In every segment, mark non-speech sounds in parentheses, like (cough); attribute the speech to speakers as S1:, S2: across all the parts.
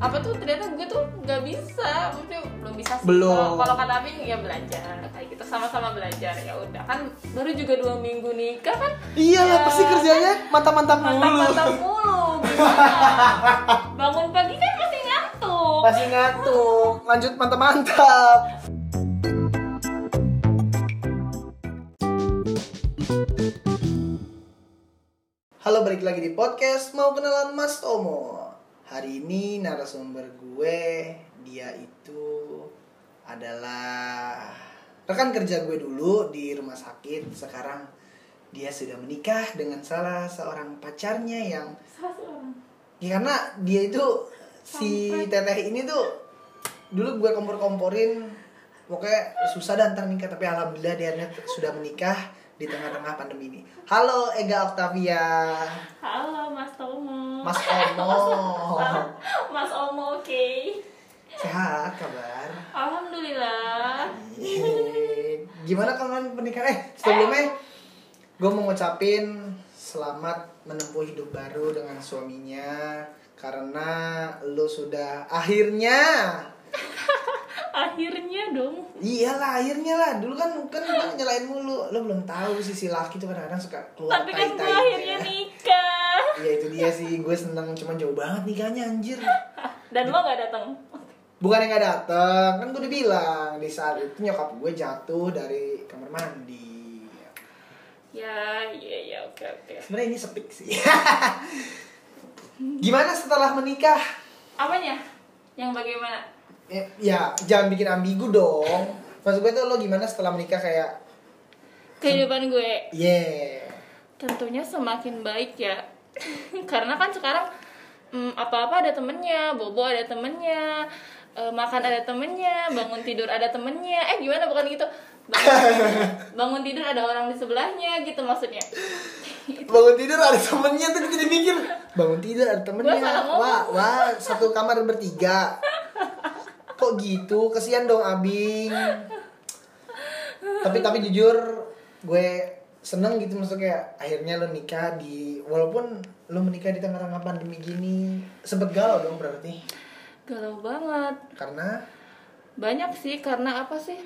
S1: apa tuh ternyata gue tuh nggak bisa maksudnya belum bisa sih.
S2: Belum.
S1: Kalau- kalau kata Amin ya belajar kayak gitu sama-sama belajar ya udah kan baru juga dua minggu nikah kan
S2: Iya ya pasti
S1: Eh,
S2: kerjanya mantap-mantap mulu.
S1: mantap-mantap mulu
S2: (laughs)
S1: gimana bangun pagi kan masih ngantuk
S2: Pasti ngantuk. Lanjut mantap-mantap. Halo balik lagi di podcast mau kenalan Mas Tomo. Hari ini narasumber gue dia itu adalah rekan kerja gue dulu di rumah sakit. Sekarang dia sudah menikah dengan salah seorang pacarnya yang
S1: Salah seorang.
S2: Ya, karena dia itu si teteh ini tuh dulu gue kompor-komporin pokoknya susah dan ntar nikah tapi alhamdulillah dia net- sudah menikah di tengah-tengah pandemi ini. Halo Ega Octavia,
S1: halo Mas Tomo
S2: Mas Omo,
S1: (laughs) Mas Omo oke
S2: sehat kabar?
S1: alhamdulillah
S2: Yeay. Gimana kangen pernikahan? Eh sebelumnya gue mau ngucapin selamat menempuh hidup baru dengan suaminya karena lo sudah akhirnya
S1: akhirnya dong
S2: Iyalah akhirnya lah dulu kan kan gue nyalain mulu lo belum tahu sisi laki tuh kadang-kadang suka keluar
S1: tapi kan gue
S2: tai-tainya.
S1: akhirnya nikah
S2: Iya itu dia sih gue seneng cuman jauh banget nikahnya anjir
S1: dan lo nggak datang
S2: bukan yang gak dateng kan gue udah bilang di saat itu nyokap gue jatuh dari kamar mandi
S1: ya ya ya oke oke
S2: sebenarnya ini sepik sih (laughs) gimana setelah menikah
S1: apanya yang bagaimana
S2: Eh, ya jangan bikin ambigu dong maksud gue tuh lo gimana setelah menikah kayak
S1: kehidupan gue
S2: yeah
S1: tentunya semakin baik ya (laughs) karena kan sekarang mm, apa-apa ada temennya bobo ada temennya eh, makan ada temennya bangun tidur ada temennya eh gimana bukan gitu bangun, bangun tidur ada orang di sebelahnya gitu maksudnya
S2: bangun tidur ada temennya tuh jadi mikir bangun tidur ada temennya
S1: Gua salah ngomong.
S2: wah wah satu kamar bertiga kok gitu kesian dong abing tapi tapi jujur gue seneng gitu maksudnya akhirnya lo nikah di walaupun lo menikah di tengah-tengah pandemi gini sempet galau dong berarti
S1: galau banget
S2: karena
S1: banyak sih karena apa sih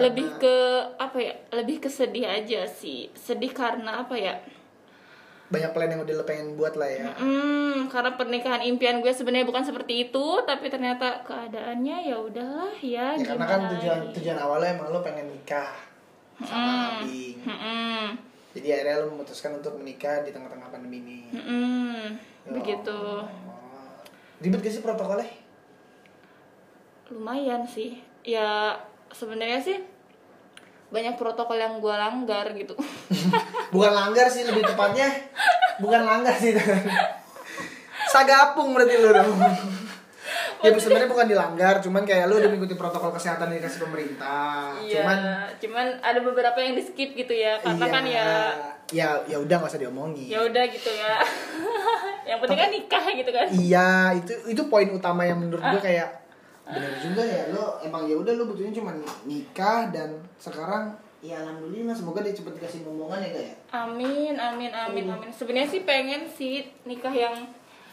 S1: lebih ke apa ya lebih ke sedih aja sih sedih karena apa ya
S2: banyak plan yang udah lo pengen buat lah ya
S1: Hmm, karena pernikahan impian gue sebenarnya bukan seperti itu, tapi ternyata keadaannya ya udahlah ya,
S2: ya karena
S1: gimana
S2: kan tujuan
S1: lagi.
S2: tujuan awalnya emang lo pengen nikah
S1: Hmm.
S2: sama abing
S1: Mm-mm.
S2: Jadi akhirnya lo memutuskan untuk menikah di tengah-tengah pandemi ini.
S1: Mm-mm. hmm,
S2: Ya.
S1: Begitu.
S2: Oh. Ribet gak
S1: (laughs)
S2: sih protokolnya?
S1: Lumayan sih. Ya sebenarnya sih banyak protokol yang gue langgar
S2: (laughs)
S1: gitu.
S2: Bukan langgar sih lebih tepatnya. Bukan langgar sih. Sagapung berarti
S1: (laughs)
S2: lu dong. ya sebenarnya bukan dilanggar, cuman kayak lu udah mengikuti protokol kesehatan yang dikasih pemerintah.
S1: Iya,
S2: Cuman Iya.
S1: cuman ada beberapa yang di skip gitu ya, karena kan ya
S2: ya ya udah nggak usah diomongin.
S1: ya udah gitu ya. (laughs) yang penting kan nikah gitu kan.
S2: Iya, itu itu poin utama yang menurut
S1: Ah.
S2: gue kayak bener juga ya lo emang ya udah lo butuhnya cuma nikah dan sekarang ya alhamdulillah semoga dia cepet dikasih momongan ya gak ya
S1: Amin, amin, amin,
S2: Hmm.
S1: amin. Sebenarnya sih pengen sih nikah yang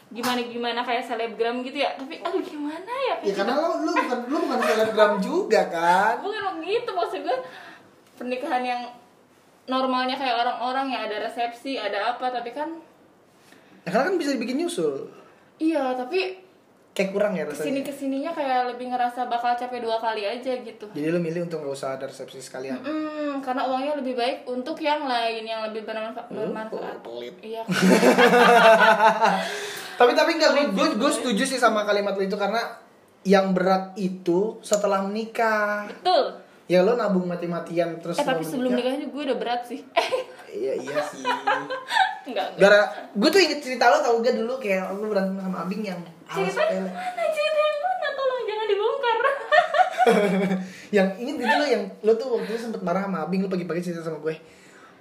S1: gimana gimana kayak selebgram gitu ya. Tapi aduh gimana ya?
S2: ya karena lo lo bukan lo bukan selebgram juga kan
S1: Bukan begitu gitu, maksud gue pernikahan yang normalnya kayak orang-orang ya ada resepsi, ada apa, tapi kan
S2: ya karena kan bisa dibikin nyusul
S1: iya, tapi
S2: kayak kurang ya
S1: kesini
S2: rasanya
S1: kesininya kayak lebih ngerasa bakal capek dua kali aja gitu.
S2: jadi lo milih untuk nggak usah ada resepsi sekalian
S1: Hmm, karena uangnya lebih baik untuk yang lain yang lebih bermanfa- bermanfaat.
S2: pelit.
S1: Iya.
S2: tapi tapi enggak gue gue gue setuju sih sama kalimat lo itu karena yang berat itu setelah menikah
S1: Betul.
S2: ya lo nabung mati-matian terus
S1: Eh tapi
S2: lo
S1: sebelum
S2: menikah.
S1: nikahnya gue udah berat sih. (laughs) Eh,
S2: iya iya sih
S1: enggak. enggak.
S2: Gara, gue tuh inget cerita lo tau gak dulu kayak lo berantem sama Abing yang awas
S1: cerita
S2: eh.
S1: yang
S2: sepele. (laughs)
S1: mana cerita yang mana tolong jangan dibongkar
S2: yang inget gitu lo yang lo tuh waktu itu sempet marah sama Abing lo pagi-pagi cerita sama gue.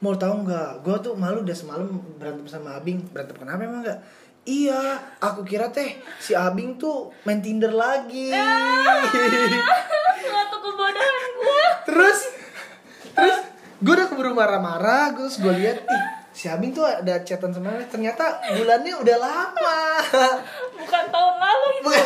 S2: Mau tau nggak? Gue tuh malu udah semalam berantem sama Abing. Berantem kenapa emang nggak? Iya, aku kira teh si Abing tuh main Tinder lagi.
S1: suatu kebodohan gue
S2: terus, terus gue udah keburu marah-marah. Gue gue lihat ih si Abing tuh ada chatan sama dia. Ternyata bulannya udah lama. (laughs)
S1: bukan tahun lalu itu
S2: Bukan,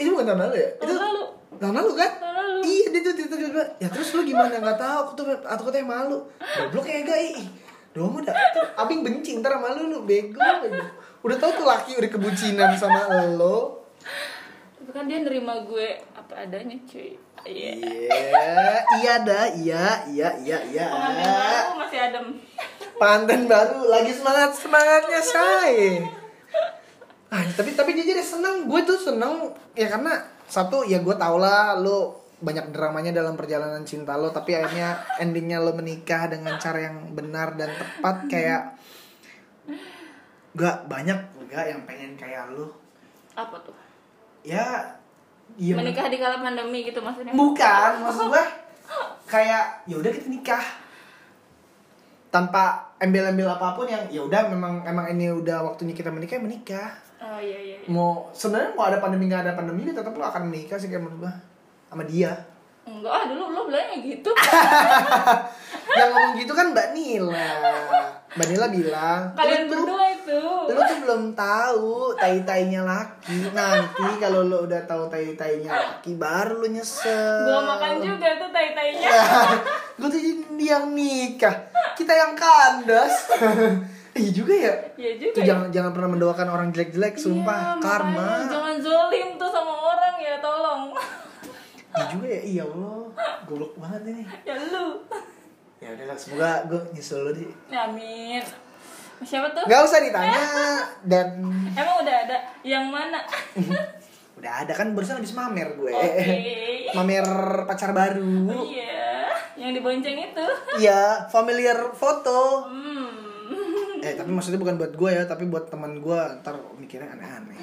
S2: ini bukan tahun lalu ya? Itu
S1: tahun lalu
S2: tahun lalu kan?
S1: tahun lalu
S2: Iya dia tuh cerita tiba ya terus lu gimana nggak tahu aku tuh aku tuh yang malu goblok ya gak ih doang udah tuh, abing benci ntar sama lu lu bego, bego. udah tau tuh laki udah kebucinan sama lo
S1: tapi kan dia nerima gue apa adanya cuy iya
S2: iya iya dah iya iya iya iya
S1: pengamen baru masih adem
S2: panten baru lagi semangat semangatnya say ah tapi tapi dia jadi seneng gue tuh seneng ya karena satu ya gue tau lah lo banyak dramanya dalam perjalanan cinta lo tapi akhirnya endingnya lo menikah dengan cara yang benar dan tepat kayak gak banyak gak yang pengen kayak lo
S1: apa tuh
S2: ya iya
S1: menikah di kala pandemi gitu maksudnya (laughs)
S2: Bukan, maksud gue kayak ya udah kita nikah tanpa embel-embel apapun yang ya udah memang emang ini udah waktunya kita menikah ya menikah
S1: oh iya iya iya.
S2: mau sebenarnya mau ada pandemi nggak ada pandemi ya tetap lo akan menikah sih kayak menurut gue sama dia
S1: enggak ah dulu lo bilangnya gitu
S2: Ah, yang ngomong gitu kan mbak Nila mbak Nila bilang
S1: (laughs) kalian
S2: "Lu-
S1: berdua itu
S2: lu tuh belum tahu tai tainya laki nanti kalau lo udah tahu tai tainya laki baru lo nyesel
S1: gua makan juga tuh tai tainya
S2: Ya. (laughs) gue tuh jadi yang nikah kita yang kandas (laughs) iya juga ya
S1: Iya
S2: itu
S1: juga. ya.
S2: jangan jangan pernah mendoakan orang jelek-jelek
S1: Iya, makanya
S2: sumpah karma
S1: Jangan zolim tuh sama orang ya, tolong. (laughs)
S2: iya juga ya iya allah goblok banget ini
S1: ya lu.
S2: ya udahlah semoga gue nyesel lo di
S1: Amin. Ya, Siapa tuh?
S2: nggak usah ditanya dan
S1: Emang udah ada yang mana?
S2: udah ada kan barusan habis mamer gue
S1: Oke.
S2: (laughs) mamer pacar baru
S1: Iya, yang dibonceng itu.
S2: iya familiar foto
S1: Hmm.
S2: eh tapi maksudnya bukan buat gue ya tapi buat teman gue ntar mikirnya
S1: (laughs)
S2: aneh-aneh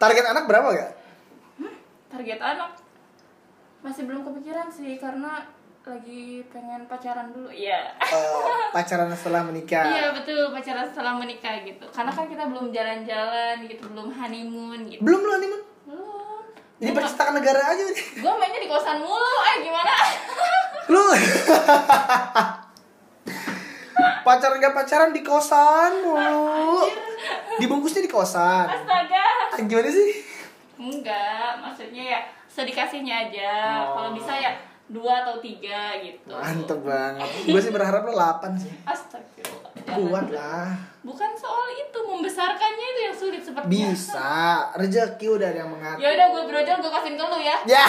S2: target anak berapa gak
S1: Target anak masih belum kepikiran sih karena lagi pengen pacaran dulu. Iya.
S2: Eh, pacaran setelah menikah
S1: Iya betul pacaran setelah menikah gitu. Karena kan kita belum jalan-jalan gitu, belum honeymoon gitu.
S2: belum lu honeymoon
S1: Belum.
S2: jadi
S1: Iya.
S2: percetakan negara aja udah.
S1: Gue mainnya di kosan mulu, eh gimana?
S2: lu (laughs) pacaran gak pacaran di kosan mulu dibungkusnya di kosan
S1: Astaga.
S2: Ah, gimana sih
S1: Enggak, maksudnya ya sedikasihnya aja.
S2: Oh.
S1: Kalau bisa ya dua atau tiga gitu.
S2: mantep banget gue sih berharap lo 8 sih
S1: Astagfirullah. Jangan.
S2: kuat lah
S1: Bukan soal itu, membesarkannya itu yang sulit sepertinya.
S2: bisa rezeki udah ada yang mengatur
S1: Ya udah gue brojol gue kasihin ke lu ya.
S2: Ya.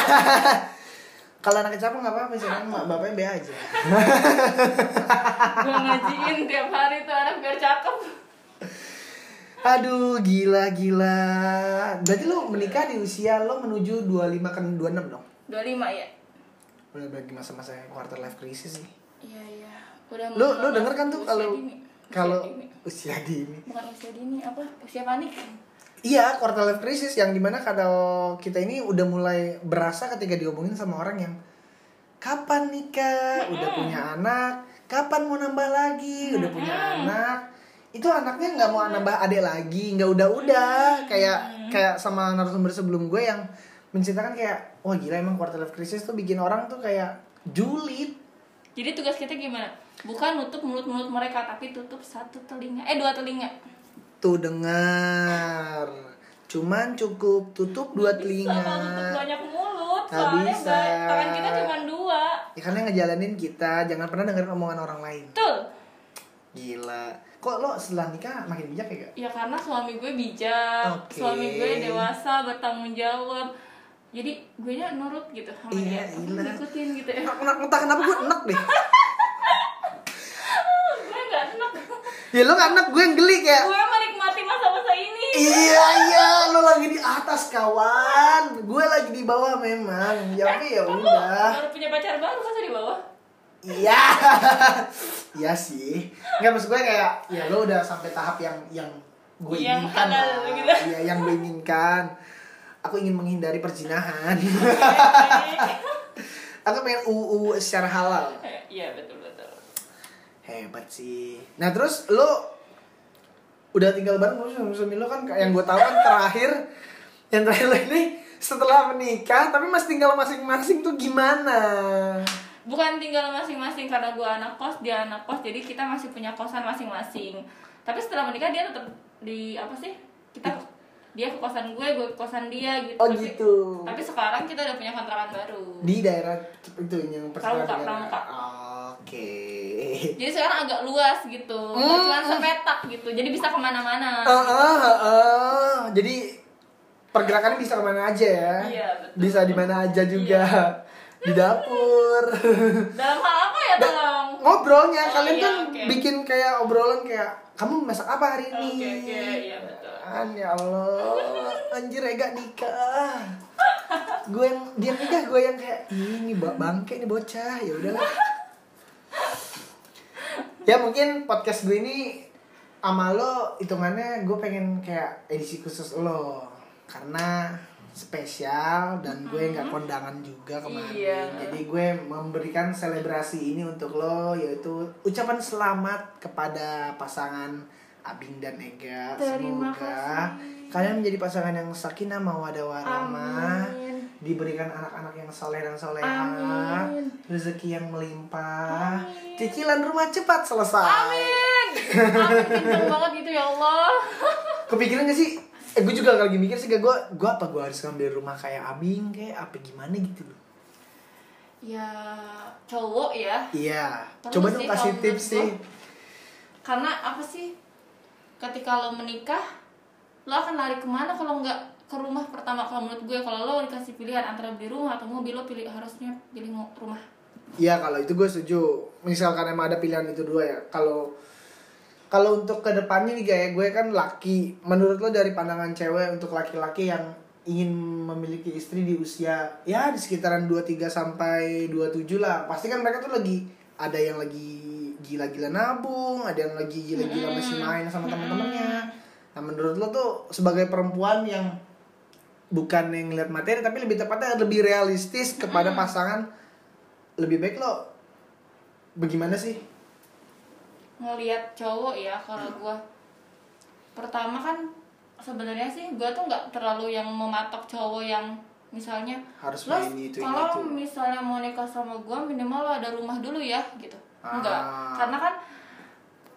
S2: Kalau anak capek nggak apa-apa sih kan mak bapaknya be aja.
S1: Gue ngajiin tiap hari tuh anak biar cakep.
S2: Aduh gila gila. Berarti lo menikah di usia lo menuju 25 ke 26 dong.
S1: 25 ya.
S2: Udah bagi masa-masa quarter life crisis sih.
S1: Iya iya. Udah
S2: Lo
S1: mau-
S2: lo denger kan tuh
S1: usia
S2: kalau
S1: dini. Usia
S2: kalau
S1: dini.
S2: usia dini.
S1: bukan usia dini apa? Usia panik.
S2: Iya, quarter life crisis yang dimana kalau kita ini udah mulai berasa ketika diomongin sama orang yang kapan nikah, udah punya anak, kapan mau nambah lagi, udah punya anak, itu anaknya nggak mau nambah adik lagi, nggak udah-udah, kayak kayak sama narasumber sebelum gue yang menceritakan kayak wah gila emang quarter life crisis tuh bikin orang tuh kayak julid.
S1: Jadi tugas kita gimana? Bukan nutup mulut-mulut mereka, tapi tutup satu telinga. Eh, dua telinga.
S2: Tuh dengar. Cuman cukup tutup dua telinga.
S1: Sama tutup banyak mulut,
S2: Nggak
S1: soalnya
S2: bisa.
S1: ba- tangan kita cuma dua.
S2: Ya karena ngejalanin kita, jangan pernah dengerin omongan orang lain.
S1: Betul.
S2: Gila. Kok lo setelah nikah makin bijak ya gak?
S1: Ya karena suami gue bijak,
S2: Oke.
S1: suami gue dewasa, bertanggung jawab. Jadi gue nya nurut gitu sama
S2: Iya,
S1: dia. Aku
S2: gila.
S1: ngikutin gitu ya. (laughs)
S2: Enak, entah kenapa gue enak deh.
S1: gue gak seneng.
S2: Ya lo gak enak, gue yang geli kayak.
S1: gue menikmati masa-masa ini.
S2: Iya, iya, lo lagi di atas kawan. Gue lagi di bawah memang. Ya oke ya
S1: Kok lu
S2: udah.
S1: baru punya pacar baru masa di bawah?
S2: Iya. Iya sih. Enggak maksud gue kayak ya lo udah sampai tahap yang yang gue
S1: Iya, Yang
S2: inginkan.
S1: halal,
S2: lah.
S1: gitu.
S2: Iya, yang gue inginkan. Aku ingin menghindari
S1: (laughs)
S2: perjinahan. Aku pengen UU secara halal.
S1: Eh, Iya betul betul.
S2: Hebat sih. Nah terus lo udah tinggal bareng lu sama suami lo kan kayak yang gue tahu kan terakhir yang terakhir lo ini setelah menikah tapi masih tinggal masing-masing tuh gimana?
S1: bukan tinggal masing-masing karena gue anak kos dia anak kos jadi kita masih punya kosan masing-masing tapi setelah menikah dia tetap di apa sih kita dia ke kosan gue gue ke kosan dia gitu
S2: Oh
S1: tapi,
S2: gitu.
S1: tapi sekarang kita udah punya kontrakan baru
S2: Di daerah itu yang persekitaran
S1: Pramuka,
S2: daerah.
S1: Pramuka.
S2: Oke.
S1: jadi sekarang agak luas gitu nggak
S2: Hmm.
S1: cuma sepetak gitu jadi bisa kemana-mana
S2: Ah, ah, ah, ah. Jadi pergerakannya bisa kemana aja ya.
S1: Iya, betul. Iya.
S2: Bisa di mana aja juga. (laughs) Di dapur.
S1: dalam hal apa ya tolong
S2: Ngobrolnya
S1: Oh,
S2: kalian
S1: iya,
S2: kan
S1: oke.
S2: bikin kayak obrolan kayak kamu masak apa hari ini?
S1: Oke, oke, iya, betul.
S2: An, ya Allah, anjir Ega
S1: (laughs)
S2: nikah. Gue yang dia nikah, gue yang kayak ini ba- bangke nih bocah. Ya udahlah. ya mungkin podcast gue ini sama lo hitungannya gue pengen kayak edisi khusus lo karena spesial dan gue nggak kondangan juga kemarin
S1: Iya.
S2: jadi gue memberikan selebrasi ini untuk lo yaitu ucapan selamat kepada pasangan Abing dan Ega
S1: Terima
S2: semoga
S1: kasih.
S2: kalian menjadi pasangan yang sakinah mawadah warahmah
S1: Amin.
S2: diberikan anak-anak yang soleh dan soleha
S1: Amin.
S2: rezeki yang melimpah
S1: Amin.
S2: cicilan rumah cepat selesai
S1: amin amin kenceng banget gitu ya Allah
S2: kepikiran gak sih eh, gue juga lagi mikir sih gak gue gue apa gue harus ngambil rumah kayak abing kayak apa gimana gitu loh
S1: ya cowok ya
S2: iya
S1: Perlu
S2: coba dong
S1: sih
S2: kasih
S1: kalau
S2: tips
S1: menurut
S2: sih
S1: karena apa sih ketika lo menikah lo akan lari kemana kalau nggak ke rumah pertama kalau menurut gue kalau lo dikasih pilihan antara beli rumah atau mobil lo pilih harusnya pilih ngo- rumah
S2: Iya kalau itu gue setuju. Misalkan emang ada pilihan itu dua ya. Kalau kalau untuk kedepannya nih kayak gue kan laki. Menurut lo dari pandangan cewek untuk laki-laki yang ingin memiliki istri di usia ya di sekitaran 23 sampai 27 lah. Pasti kan mereka tuh lagi ada yang lagi gila-gila nabung, ada yang lagi gila-gila masih main sama teman-temannya. Nah menurut lo tuh sebagai perempuan yang bukan yang ngeliat materi tapi lebih tepatnya lebih realistis kepada pasangan lebih baik lo bagaimana sih?
S1: ngelihat cowok ya kalau gue pertama kan sebenarnya sih gue tuh nggak terlalu yang mematok cowok yang misalnya
S2: Harus
S1: lo
S2: ini itu ini itu.
S1: kalau misalnya mau nikah sama gue minimal lo ada rumah dulu ya gitu enggak
S2: Ah.
S1: karena kan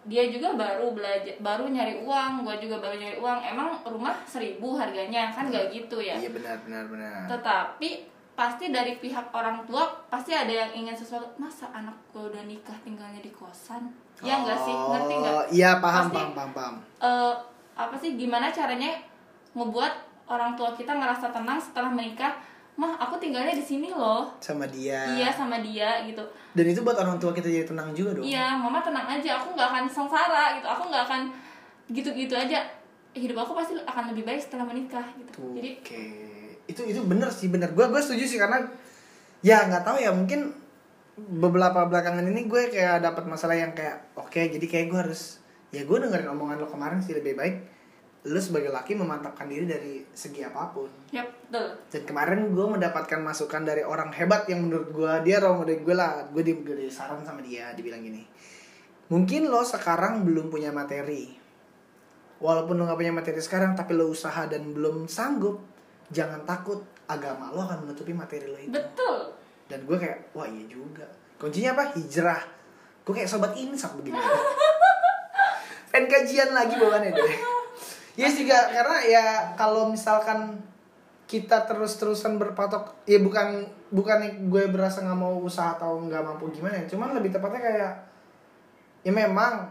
S1: dia juga baru belajar baru nyari uang gue juga baru nyari uang emang rumah seribu harganya kan nggak gitu ya
S2: Iya benar benar benar.
S1: tetapi pasti dari pihak orang tua pasti ada yang ingin sesuatu masa anak gue udah nikah tinggalnya di kosan ya enggak sih ngerti nggak
S2: Oh, Iya paham
S1: Pasti-
S2: paham paham paham.
S1: eh, apa sih gimana caranya ngebuat orang tua kita ngerasa tenang setelah menikah mah aku tinggalnya di sini loh
S2: Sama dia.
S1: iya sama dia gitu
S2: Dan itu buat orang tua kita jadi tenang juga dong.
S1: iya mama tenang aja aku nggak akan sengsara gitu aku nggak akan gitu-gitu aja hidup aku pasti akan lebih baik setelah menikah gitu
S2: Tuh,
S1: jadi
S2: Oke. Itu itu benar sih benar. Gue gue setuju sih karena ya nggak tahu ya mungkin beberapa belakangan ini gue kayak dapat masalah yang kayak oke jadi kayak gue harus ya gue dengerin omongan lo kemarin sih lebih baik lo sebagai laki memantapkan diri dari segi apapun.
S1: ya betul
S2: Dan kemarin gue mendapatkan masukan dari orang hebat yang menurut gue dia role model gue lah. Gue di, gue di saran sama dia, dibilang gini. Mungkin lo sekarang belum punya materi. Walaupun lo gak punya materi sekarang, tapi lo usaha dan belum sanggup, jangan takut agama lo akan menutupi materi lo itu.
S1: betul
S2: Dan gue kayak, wah iya juga. Kuncinya apa? Hijrah. Gue kayak sobat insaf begini. Pengen kajian lagi bawaannya deh. Ya yes, juga karena ya kalau misalkan kita terus-terusan berpatok ya bukan bukan gue berasa nggak mau usaha atau nggak mampu gimana ya cuman lebih tepatnya kayak ya memang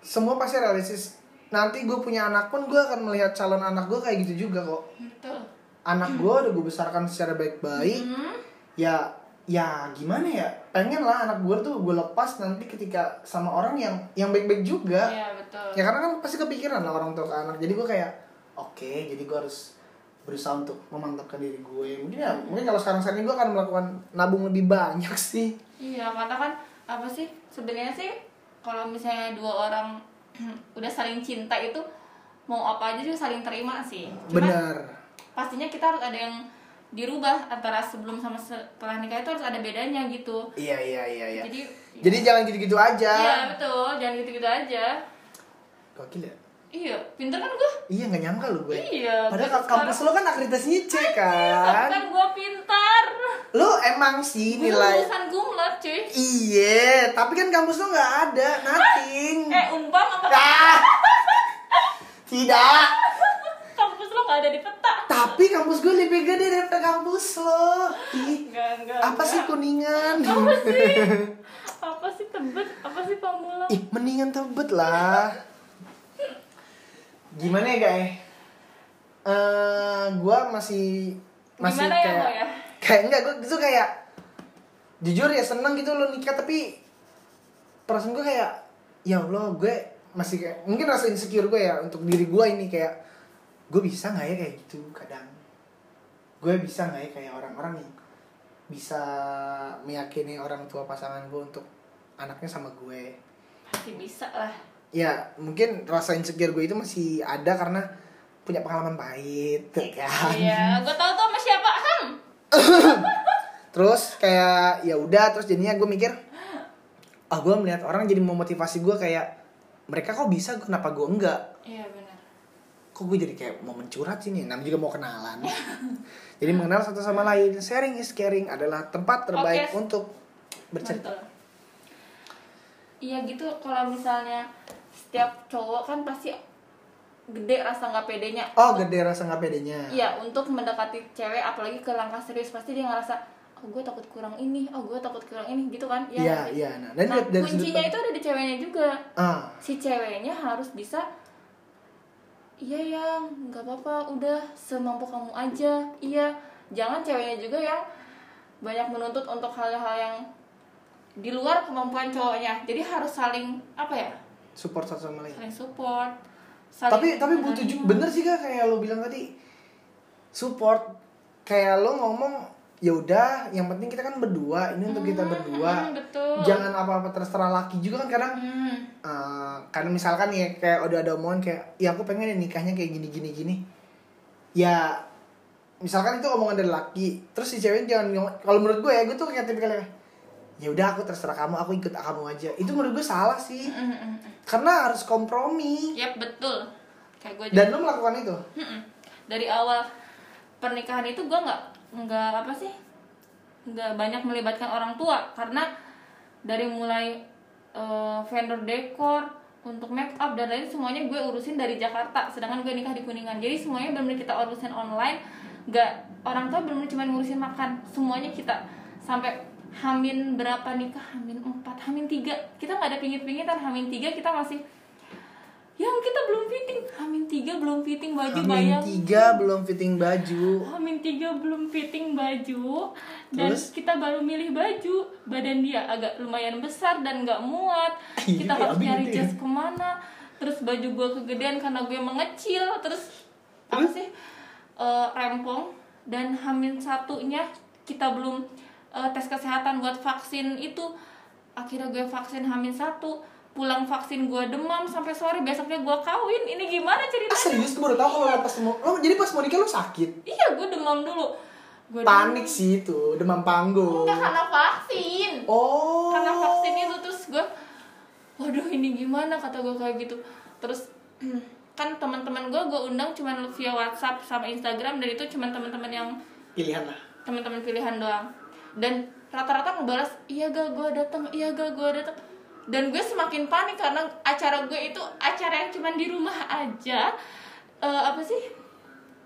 S2: semua pasti realistis nanti gue punya anak pun gue akan melihat calon anak gue kayak gitu juga kok
S1: betul
S2: anak gue udah gue besarkan secara baik-baik
S1: Hmm,
S2: ya ya gimana ya pengen lah anak gue tuh gue lepas nanti ketika sama orang yang yang baik-baik juga
S1: iya betul
S2: ya karena kan pasti kepikiran lah orang tua ke anak jadi gue kayak oke jadi gue harus berusaha untuk memantapkan diri gue mungkin ya
S1: Mm-hmm.
S2: mungkin kalau sekarang sekarang ini gue akan melakukan nabung lebih banyak sih
S1: Iya, karena kan apa sih sebenarnya sih kalau misalnya dua orang (clears throat) udah saling cinta itu mau apa aja juga saling terima sih. Cuman
S2: bener
S1: pastinya kita harus ada yang dirubah antara sebelum sama setelah nikah itu harus ada bedanya gitu.
S2: iya iya iya iya
S1: Jadi
S2: jadi ya. jangan gitu-gitu aja
S1: Iya, betul. Jangan gitu-gitu aja.
S2: gokil ya
S1: Iya, pinter kan gue?
S2: iya nggak nyangka lo gue
S1: Iya. gue
S2: padahal
S1: sekarang-
S2: kampus lo kan akreditasnya C
S1: Kan
S2: kan
S1: gue pintar.
S2: lo emang sih nilai
S1: Lulusan gumlat, cuy.
S2: Iya, tapi kan kampus lo Hmm. nggak ada, nothing.
S1: Eh, umpam apa?
S2: Ah. Tidak.
S1: (laughs) kampus lo nggak ada di peta
S2: Tapi kampus gue lebih gede daripada kampus lo. Ih,
S1: enggak enggak
S2: apa sih
S1: enggak.
S2: kuningan?
S1: apa
S2: (laughs)
S1: sih apa sih tebet apa sih pamulang
S2: Ih, mendingan tebet lah. Gimana ya, Kak? Eh, Eh, gua masih masih
S1: Gimana ya,
S2: kayak
S1: Mo, ya?
S2: kayak enggak gua itu kayak jujur ya seneng gitu lo nikah tapi perasaan gue kayak ya Allah gue masih kayak mungkin rasa insecure gue ya untuk diri gue ini kayak gue bisa nggak ya kayak gitu kadang gue bisa nggak ya kayak orang-orang yang bisa meyakini orang tua pasangan gue untuk anaknya sama gue
S1: pasti bisa lah
S2: ya mungkin rasa insecure gue itu masih ada karena punya pengalaman pahit ya kan
S1: iya gue tahu tuh sama siapa ham
S2: terus kayak ya udah terus jadinya gue mikir ah gue melihat orang jadi memotivasi gue kayak mereka kok bisa kenapa gue enggak
S1: iya benar
S2: kok gue jadi kayak mau mencurhat sih nih namanya juga mau
S1: (laughs)
S2: kenalan jadi mengenal satu sama lain sharing is caring adalah tempat terbaik
S1: Oke.
S2: untuk bercerita
S1: Betul. Iya gitu kalau misalnya setiap cowok kan pasti gede rasa nggak pedenya.
S2: oh gede rasa nggak pedenya
S1: Iya untuk mendekati cewek apalagi ke langkah serius pasti dia ngerasa oh gue takut kurang ini, oh gue takut kurang ini gitu kan?
S2: iya
S1: nggak sih?
S2: iya nah dan
S1: Nah,
S2: dari- dari sudut
S1: kuncinya
S2: pandang-
S1: itu ada di ceweknya juga.
S2: ah
S1: Si ceweknya harus bisa Iya yang nggak apa-apa udah semampu kamu aja iya jangan ceweknya juga yang banyak menuntut untuk hal-hal yang di luar kemampuan cowoknya jadi harus saling apa ya
S2: support satu sama lain
S1: saling support saling Hmm,
S2: tapi tapi butuh ju-
S1: menerima.
S2: bener sih kak kayak lo bilang tadi support kayak lo ngomong ya udah yang penting kita kan berdua ini untuk kita
S1: Hmm,
S2: berdua
S1: hmm, betul
S2: jangan apa-apa terserah laki juga kan kadang
S1: Hmm,
S2: Eh, karena misalkan ya kayak udah ada omongan kayak ya aku pengen ya nikahnya kayak gini gini gini ya misalkan itu omongan dari laki terus si cewek jangan ngomong kalau menurut gue ya gue tuh kayak tipikalnya ya udah aku terserah kamu aku ikut kamu aja itu menurut gue salah sih
S1: hmm, hmm, hmm.
S2: karena harus kompromi
S1: Yap, betul kayak gue
S2: dan lo melakukan itu
S1: Mm-mm. hmm. dari awal pernikahan itu gue nggak nggak apa sih nggak banyak melibatkan orang tua karena dari mulai eh, vendor dekor untuk make up dan lain semuanya gue urusin dari Jakarta sedangkan gue nikah di Kuningan jadi semuanya benar-benar kita urusin online nggak orang tua benar-benar cuma ngurusin makan semuanya kita sampai hamin berapa nikah hamin empat hamin tiga kita nggak ada pingit-pingitan hamin tiga kita masih yang kita belum fitting hamin tiga belum fitting baju
S2: Amin
S1: bayang
S2: tiga belum fitting baju
S1: Hamin tiga belum fitting baju dan
S2: Terus?
S1: kita baru milih baju badan dia agak lumayan besar dan nggak muat
S2: Iya,
S1: kita harus
S2: Abi
S1: nyari
S2: gitu ya.
S1: jas kemana terus baju gue kegedean karena gue mengecil terus apa sih eh, rempong dan hamin satunya kita belum eh, tes kesehatan buat vaksin itu akhirnya gue vaksin hamin satu pulang vaksin gue demam sampai sore besoknya gue kawin ini gimana
S2: ah
S1: ceritanya
S2: serius gue baru tahu kalau lo pas mau lo jadi pas mau nikah lo sakit
S1: iya gue demam dulu gue
S2: panik sih itu demam panggung
S1: Enggak karena vaksin.
S2: oh
S1: Karena vaksin itu terus gue waduh ini gimana kata gue kayak gitu. Terus kan teman-teman gue gue undang cuman via WhatsApp sama Instagram dan itu cuman teman-teman yang
S2: pilihan lah
S1: teman-teman pilihan doang. Dan rata-rata ngebalas iya ga gue datang, iya ga gue datang. Dan gue semakin panik karena acara gue itu acara yang cuman di rumah aja. Eh, apa sih?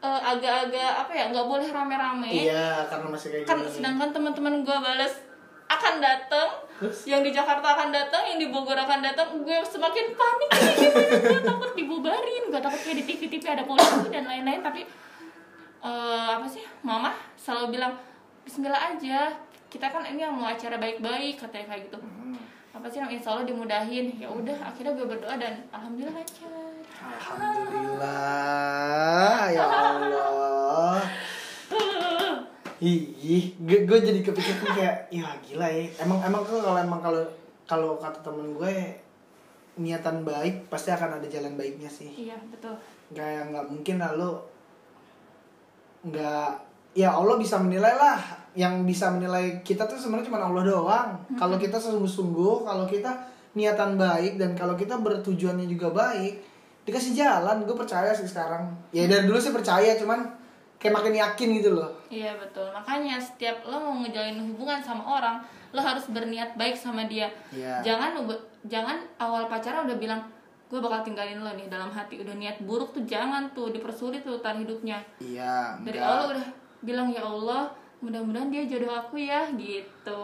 S1: Eh, agak-agak apa ya nggak boleh rame-rame
S2: Iya, karena masih
S1: Eh?
S2: kayak
S1: kan
S2: gini.
S1: sedangkan teman-teman gue balas akan datang
S2: Terus?
S1: yang di Jakarta akan datang yang di Bogor akan datang gue semakin panik ini gimana gue takut dibubarin gue takut kayak di TV-TV ada polisi dan lain-lain tapi eh, apa sih mama selalu bilang Bismillah aja kita kan ini yang mau acara baik-baik katanya kayak gitu apa sih yang Insya Allah dimudahin ya udah akhirnya gue berdoa dan alhamdulillah lancar
S2: Alhamdulillah,
S1: (laughs)
S2: ya Allah. Ih, gue jadi kepikiran tuh kayak, ya gila ya. Emang emang tuh kalau emang kalau kalau kata temen gue niatan baik pasti akan ada jalan baiknya sih.
S1: iya betul
S2: Kayak nggak mungkin lalu nggak ya Allah bisa menilai lah yang bisa menilai kita tuh sebenarnya cuma Allah doang kalau kita sungguh-sungguh kalau kita niatan baik dan kalau kita bertujuannya juga baik dikasih jalan gue percaya sih sekarang ya dari dulu sih percaya cuman kayak makin yakin gitu loh
S1: Iya betul, makanya setiap lo mau ngejalin hubungan sama orang, lo harus berniat baik sama dia.
S2: Iya.
S1: Jangan lu- jangan awal pacaran udah bilang gue gue bakal tinggalin lo nih dalam hati udah niat buruk tuh jangan tuh dipersulit tuh tar hidupnya
S2: iya
S1: dari
S2: enggak.
S1: awal udah bilang ya Allah mudah-mudahan dia jodoh aku ya gitu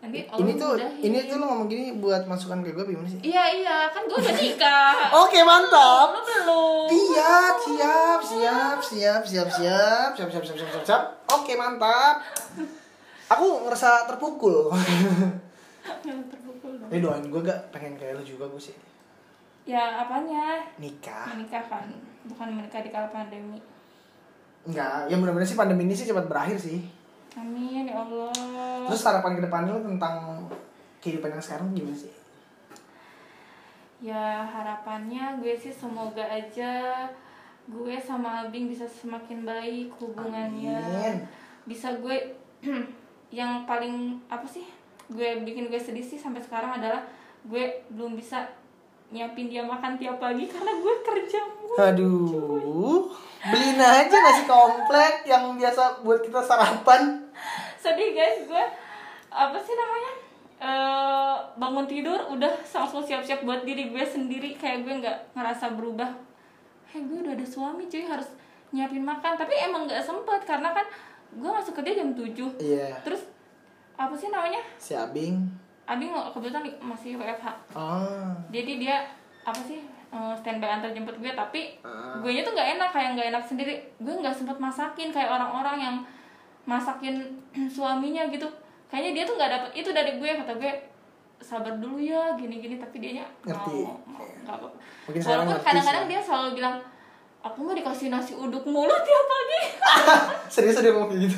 S1: nanti Allah
S2: ini tuh
S1: mudahin.
S2: ini tuh lo ngomong gini buat masukan ke gue gimana sih
S1: iya iya kan gue udah nikah
S2: (laughs) oke
S1: Lo
S2: mantap
S1: belum
S2: iya siap siap siap siap siap siap siap siap siap siap siap oke mantap aku ngerasa terpukul
S1: Jangan terpukul dong.
S2: ini doain gue gak pengen kayak lo juga gue sih
S1: ya apanya
S2: nikah
S1: menikah kan bukan menikah di kala pandemi
S2: enggak ya mudah-mudahan sih pandemi ini sih cepat berakhir sih
S1: amin ya Allah
S2: terus harapan kedepannya lo tentang kehidupan yang sekarang gimana sih
S1: Ya harapannya gue sih semoga aja gue sama Abing bisa semakin baik hubungannya.
S2: Amin.
S1: Bisa gue (clears throat) yang paling apa sih? Gue bikin gue sedih sih sampai sekarang adalah gue belum bisa nyiapin dia makan tiap pagi karena gue kerja mulu.
S2: aduh beliin aja nasi komplek yang biasa buat kita sarapan
S1: Sedih guys gue apa sih namanya? Eh, bangun tidur udah langsung siap-siap buat diri gue sendiri kayak gue nggak ngerasa berubah Hei gue udah ada suami cuy harus nyiapin makan tapi emang nggak sempet karena kan gue masuk kerja jam 7
S2: iya
S1: terus apa sih namanya
S2: si abing
S1: Abi nggak kebetulan masih WFH
S2: oh
S1: jadi dia apa sih eh, standby antar jemput gue tapi
S2: Ah.
S1: gue nya tuh nggak enak kayak nggak enak sendiri gue nggak sempet masakin kayak orang-orang yang masakin (clears throat) suaminya gitu kayaknya dia tuh nggak dapet itu dari gue kata gue sabar dulu ya gini-gini tapi dianya
S2: Ngerti. Iya.
S1: mau mau nggak apa
S2: Mungkin sekarang
S1: walaupun
S2: ngerti
S1: kadang-kadang
S2: sih.
S1: dia selalu bilang aku mah dikasih nasi uduk mulu tiap pagi (laughs)
S2: serius dia ngomong kayak gitu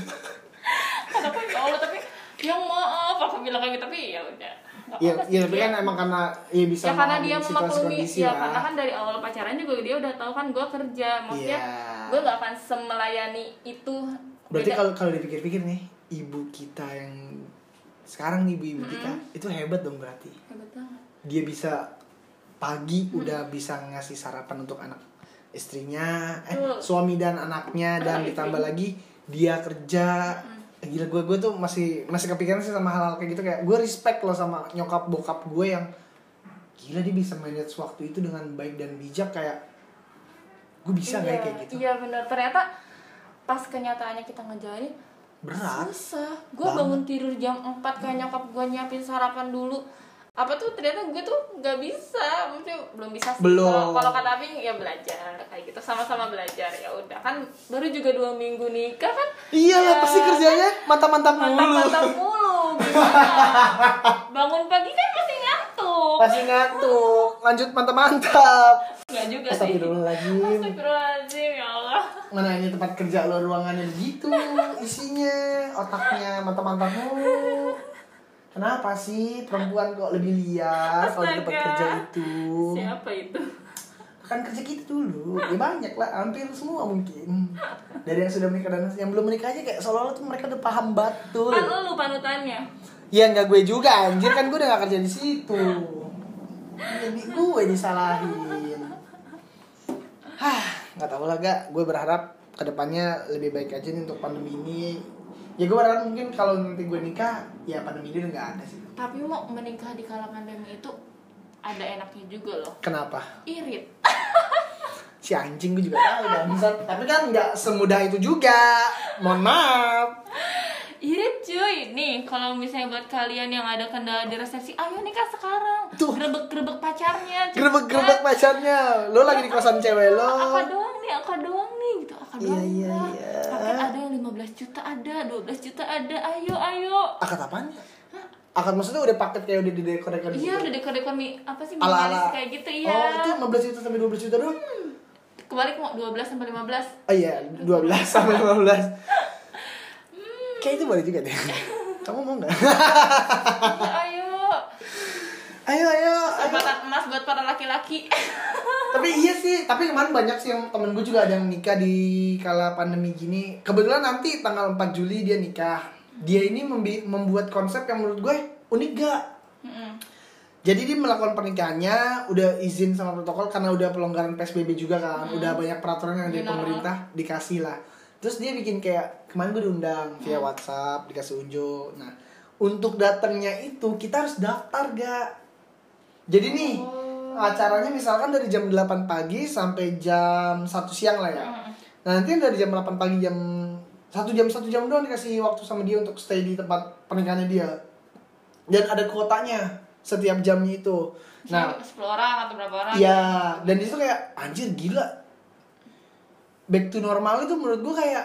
S1: kata gue ya Allah tapi yang maaf aku bilang kayak gitu tapi ya udah nggak
S2: Iya,
S1: apa-apa sih,
S2: iya tapi kan emang karena ya bisa
S1: ya karena
S2: memahami
S1: dia
S2: situasi
S1: memaklumi
S2: kondisi
S1: ya
S2: lah.
S1: karena kan dari awal pacaran juga dia udah tahu kan gue kerja maksudnya
S2: Iya.
S1: gue gak akan semelayani itu
S2: Berarti
S1: Beda-
S2: kalau kalau dipikir-pikir nih, ibu kita yang sekarang nih ibu-ibu kita itu hebat dong berarti.
S1: Hebat banget.
S2: Dia bisa pagi udah bisa ngasih sarapan untuk anak istrinya, eh
S1: Betul.
S2: suami dan anaknya dan
S1: Anak
S2: ditambah lagi dia kerja. Eh, Gila gue gue tuh masih masih kepikiran sih sama hal-hal kayak gitu kayak gue respect loh sama nyokap bokap gue yang gila dia bisa manage waktu itu dengan baik dan bijak kayak gue bisa nggak ya
S1: Iya,
S2: kayak gitu
S1: iya benar ternyata pas kenyataannya kita ngejalanin
S2: berat
S1: susah gue bangun tidur jam 4 kayak nyokap gue nyiapin sarapan dulu apa tuh ternyata gue tuh nggak bisa maksudnya belum bisa sih
S2: Belum.
S1: kalau kalau kata Abing ya belajar kayak gitu sama-sama belajar ya udah kan baru juga dua minggu nikah kan
S2: Iya lah pasti
S1: Ya,
S2: kerjanya mantap-mantap mulu.
S1: mantap-mantap mulu gimana bangun pagi kan masih ngantuk
S2: Pasti ngantuk, lanjut mantap-mantap.
S1: nggak juga Iya sih
S2: Astagfirullahaladzim.
S1: Astagfirullahaladzim ya Allah
S2: Mana ini tempat kerja lo ruangannya begitu isinya, otaknya mantap-mantap mulu. Kenapa sih perempuan kok lebih liar kalau di tempat
S1: Astaga.
S2: kerja itu?
S1: siapa itu
S2: Kan kerja kita dulu, ya banyak lah, hampir semua mungkin. Dari yang sudah menikah dan yang belum menikah aja kayak seolah-olah tuh mereka udah paham betul.
S1: kan lu panutannya
S2: Ya nggak gue juga anjir kan gue udah gak kerja di situ. Jadi gue disalahin. Hah, nggak tahu lah gak. Gue berharap kedepannya lebih baik aja nih untuk pandemi ini. Ya gue berharap mungkin kalau nanti gue nikah, ya pandemi ini udah nggak ada sih.
S1: tapi mau menikah di kala pandemi itu ada enaknya juga loh
S2: Kenapa?
S1: irit
S2: Si anjing gue juga tahu bangsat. Tapi kan nggak semudah itu juga. Mohon maaf.
S1: irit cuy nih kalau misalnya buat kalian yang ada kendala di resepsi ayo nikah sekarang
S2: Tuh.
S1: gerebek gerebek pacarnya cepet.
S2: Gerbek-gerbek pacarnya. Lo lagi di kosan cewek lo.
S1: Aku doang nih, aku doang nih gitu. Aku
S2: Iya,
S1: doang.
S2: iya,
S1: lah.
S2: iya.
S1: Paket ada yang 15 juta ada, 12 juta ada. Ayo, ayo.
S2: Akad apaan? ya? Akad maksudnya udah paket kayak udah di dekor-dekor gitu.
S1: Iya, udah dekor-dekor mi apa sih
S2: ala ala
S1: minimalis kayak gitu iya.
S2: oh itu 15 juta sampai 12 juta doang
S1: Kebalik mau 12 sampai
S2: (laughs)
S1: 15.
S2: oh iya 12
S1: (laughs)
S2: sampai 15
S1: Hmm.
S2: kayak itu boleh juga deh kamu mau nggak
S1: Iya, ayo.
S2: ayo ayo ayo
S1: Kesempatan emas buat para laki-laki.
S2: tapi iya sih tapi kemarin banyak sih yang temen gue juga ada yang nikah di kala pandemi gini kebetulan nanti tanggal 4 Juli dia nikah dia ini membi- membuat konsep yang menurut gue unik gak
S1: Mm-mm.
S2: Jadi dia melakukan pernikahannya udah izin sama protokol karena udah pelonggaran PSBB juga kan. Udah banyak peraturan yang dari
S1: Iya.
S2: pemerintah dikasih lah. Terus dia bikin kayak kemarin gue diundang via WhatsApp, dikasih unjuk. Nah, untuk datangnya itu kita harus daftar gak? Jadi nih, acaranya misalkan dari jam 8 pagi sampai jam 1 siang lah ya.
S1: Mm.
S2: Nah, nanti dari jam 8 pagi jam satu jam satu jam doang dikasih waktu sama dia untuk stay di tempat pernikahannya dia. Dan ada kuotanya setiap jamnya itu. Nah,
S1: Misalnya 10 orang atau berapa orang
S2: Iya, dan itu kayak anjir gila. Back to normal itu menurut gue kayak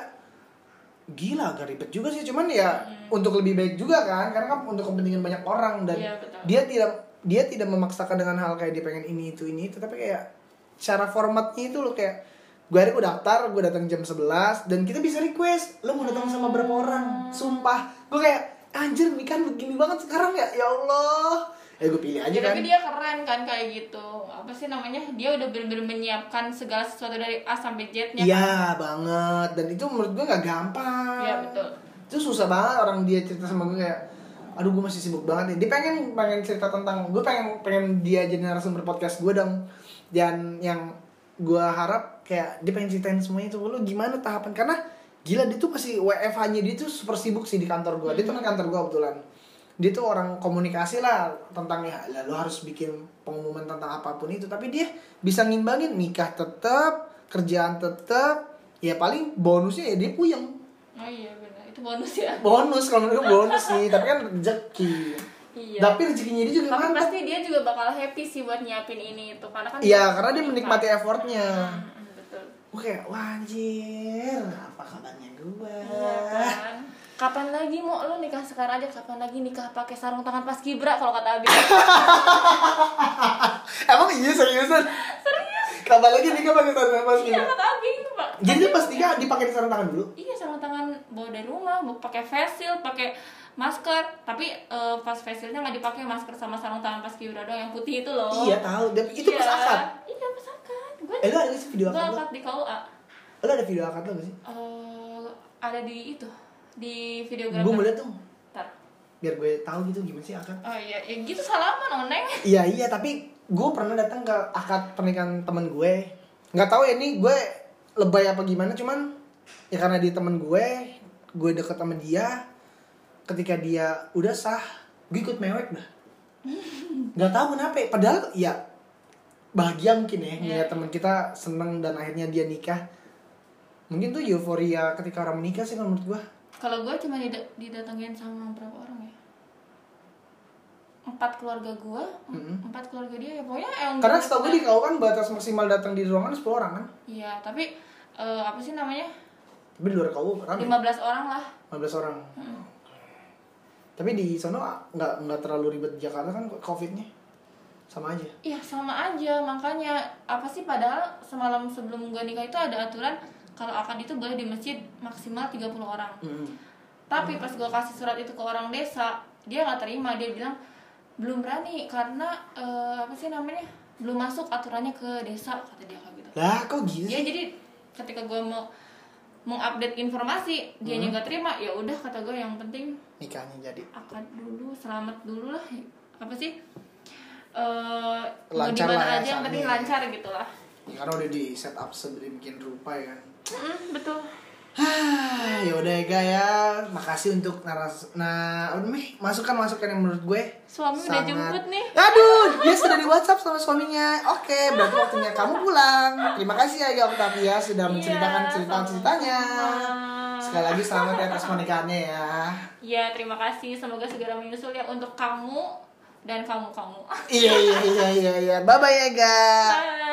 S2: gila agak ribet juga sih cuman ya untuk lebih baik juga kan karena kan untuk kepentingan banyak orang dan
S1: Hmm. Iya, betul.
S2: dia tidak dia tidak memaksakan dengan hal kayak dia pengen ini itu ini itu tapi kayak cara formatnya itu loh kayak gue hari gue daftar gue datang jam 11 dan kita bisa request lo mau datang sama berapa
S1: Hmm.
S2: orang sumpah gue kayak anjir nikahan begini banget sekarang ya ya allah ya gue pilih aja
S1: Ya,
S2: kan
S1: tapi dia keren kan kayak gitu apa sih namanya dia udah bener-bener menyiapkan segala sesuatu dari A sampai Z nya
S2: Iya banget dan itu menurut gue nggak gampang.
S1: Iya, betul.
S2: Itu susah banget orang dia cerita sama gue kayak, aduh gue masih sibuk banget nih. Dia pengen pengen cerita tentang gue pengen pengen dia jadi narasumber podcast gue dong dan yang gue harap kayak dia pengen ceritain semuanya itu lu gimana tahapan karena gila dia tuh masih WFH nya dia tuh super sibuk sih di kantor gue dia tuh di
S1: Hmm.
S2: kantor gue kebetulan dia tuh orang komunikasi lah tentang ya lah, lu harus bikin pengumuman tentang apapun itu tapi dia bisa ngimbangin nikah tetap kerjaan tetap ya paling bonusnya ya dia puyeng
S1: oh iya benar itu bonus ya
S2: bonus kalau menurut gue bonus sih tapi kan rezeki
S1: iya
S2: tapi rezekinya dia juga
S1: tapi
S2: mantap
S1: pasti dia juga bakal happy sih buat nyiapin ini itu karena kan
S2: Iya, karena dia menikmati effortnya.
S1: Hmm, betul
S2: gue kayak wah anjir apa kabarnya gue
S1: Iya kan. Kapan lagi mau lo nikah sekarang aja? Kapan lagi nikah pakai sarung tangan pas kibra kalau
S2: (laughs)
S1: kata Abi?
S2: emang iya seriusan
S1: Serius?
S2: kabar lagi nikah pakai sarung tangan pas
S1: Iya
S2: nikah
S1: kata Abi itu pak.
S2: jadi dia pas nikah dipakai di sarung tangan dulu
S1: Iya sarung tangan bawa dari rumah, bawa pakai face shield, pakai masker. Tapi eh, pas face shieldnya nggak dipakai masker sama sarung tangan pas kibra doang yang putih itu loh.
S2: iya tahu dia itu
S1: Oh. Iya.
S2: pas akad
S1: Iya pas akad. Gue
S2: eh lu ada nggak sih video
S1: gue
S2: akad lo
S1: akad di KUA.
S2: lu ada video akad lo gak sih
S1: Eh, ada di itu di videografer.
S2: gue mau lihat dong
S1: Ntar.
S2: biar gue tahu gitu gimana sih akad
S1: Oh iya, ya gitu salaman oneng.
S2: iya iya tapi gue pernah datang ke akad pernikahan temen gue nggak tahu ya ini gue lebay apa gimana cuman ya karena dia temen gue gue deket sama dia ketika dia udah sah gue ikut mewek dah nggak tahu kenapa ya. padahal ya bahagia mungkin ya
S1: Iya.
S2: ngeliat teman kita seneng dan akhirnya dia nikah mungkin tuh euforia ketika orang menikah sih kalau menurut gue
S1: Kalau gue cuma dida- didatengin sama berapa orang ya? Empat keluarga gue, em-
S2: Mm-mm.
S1: empat keluarga dia ya pokoknya yang
S2: karena setahu gue di KU kan batas maksimal datang di ruangan 10 orang kan
S1: Iya, tapi eh, apa sih namanya?
S2: tapi di luar KU ramai
S1: 15 orang lah.
S2: 15 orang.
S1: Hmm.
S2: Tapi di sono nggak nggak terlalu ribet di Jakarta kan covidnya sama aja.
S1: Iya, sama aja. Makanya apa sih padahal semalam sebelum gue nikah itu ada aturan kalau akad itu boleh di masjid maksimal 30 orang. Tapi pas gue kasih surat itu ke orang desa, dia nggak terima. Dia bilang belum berani karena eh, apa sih namanya? Belum masuk aturannya ke desa kata dia kayak gitu.
S2: Lah kok gitu?
S1: ya jadi ketika gue mau mengupdate informasi dia
S2: Hmm.
S1: nggak terima ya udah kata gue yang penting
S2: Nikahnya jadi
S1: akad dulu selamat dulu lah apa sih Eh, mau di
S2: Lancar lah ya,
S1: mana aja yang penting
S2: saatnya.
S1: lancar gitu lah
S2: ya, karena udah di setup sedemikian rupa ya kan.
S1: Mm-mm, betul
S2: Hah, ya udah ya Ga, ya. Makasih untuk naras nah apa namanya? Masukan masukan yang menurut gue.
S1: suami udah jemput nih
S2: Aduh, dia sudah di WhatsApp sama suaminya. Oke, berarti waktunya kamu pulang. Terima kasih ya Ga Octavia sudah menceritakan
S1: Iya,
S2: cerita-ceritanya.
S1: sama-sama.
S2: Sekali lagi selamat ya atas pernikahannya ya.
S1: ya terima kasih semoga segera menyusul ya untuk kamu dan kamu kamu
S2: iya iya iya iya iya. Bye bye ya, Ga.
S1: bye